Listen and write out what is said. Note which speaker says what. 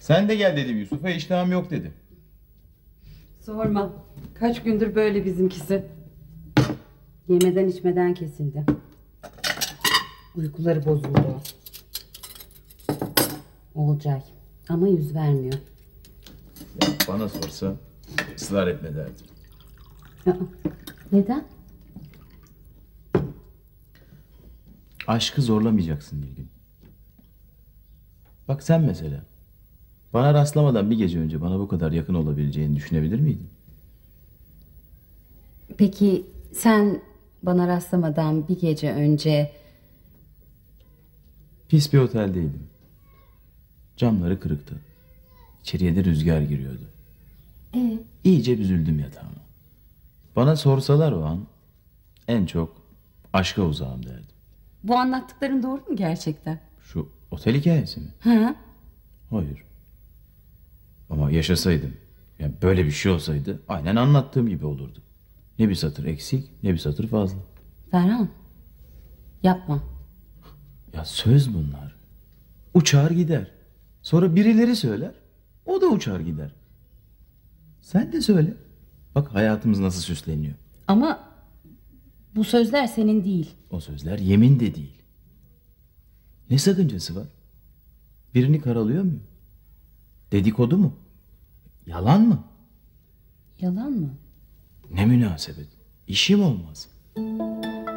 Speaker 1: Sen de gel dedim Yusuf'a iştahım yok dedi.
Speaker 2: Sorma. Kaç gündür böyle bizimkisi. Yemeden içmeden kesildi. Uykuları bozuldu. Olcay. Ama yüz vermiyor.
Speaker 1: Ya bana sorsa ısrar etme derdim.
Speaker 2: Aa, neden?
Speaker 1: Aşkı zorlamayacaksın Nilgün. Bak sen mesela. Bana rastlamadan bir gece önce bana bu kadar yakın olabileceğini düşünebilir miydin?
Speaker 2: Peki sen bana rastlamadan bir gece önce
Speaker 1: Pis bir oteldeydim. Camları kırıktı. İçeriye de rüzgar giriyordu.
Speaker 2: Ee?
Speaker 1: İyice büzüldüm yatağıma. Bana sorsalar o an en çok aşka uzağım derdim.
Speaker 2: bu anlattıkların doğru mu gerçekten?
Speaker 1: Şu otel hikayesi mi?
Speaker 2: Ha?
Speaker 1: Hayır. Ama yaşasaydım, yani böyle bir şey olsaydı aynen anlattığım gibi olurdu. Ne bir satır eksik, ne bir satır fazla.
Speaker 2: Ferhan. Yapma.
Speaker 1: Ya söz bunlar. Uçar gider. Sonra birileri söyler. O da uçar gider. Sen de söyle. Bak hayatımız nasıl süsleniyor.
Speaker 2: Ama bu sözler senin değil.
Speaker 1: O sözler yemin de değil. Ne sakıncası var? Birini karalıyor muyum? Dedikodu mu? Yalan mı?
Speaker 2: Yalan mı?
Speaker 1: Ne münasebet. İşim olmaz.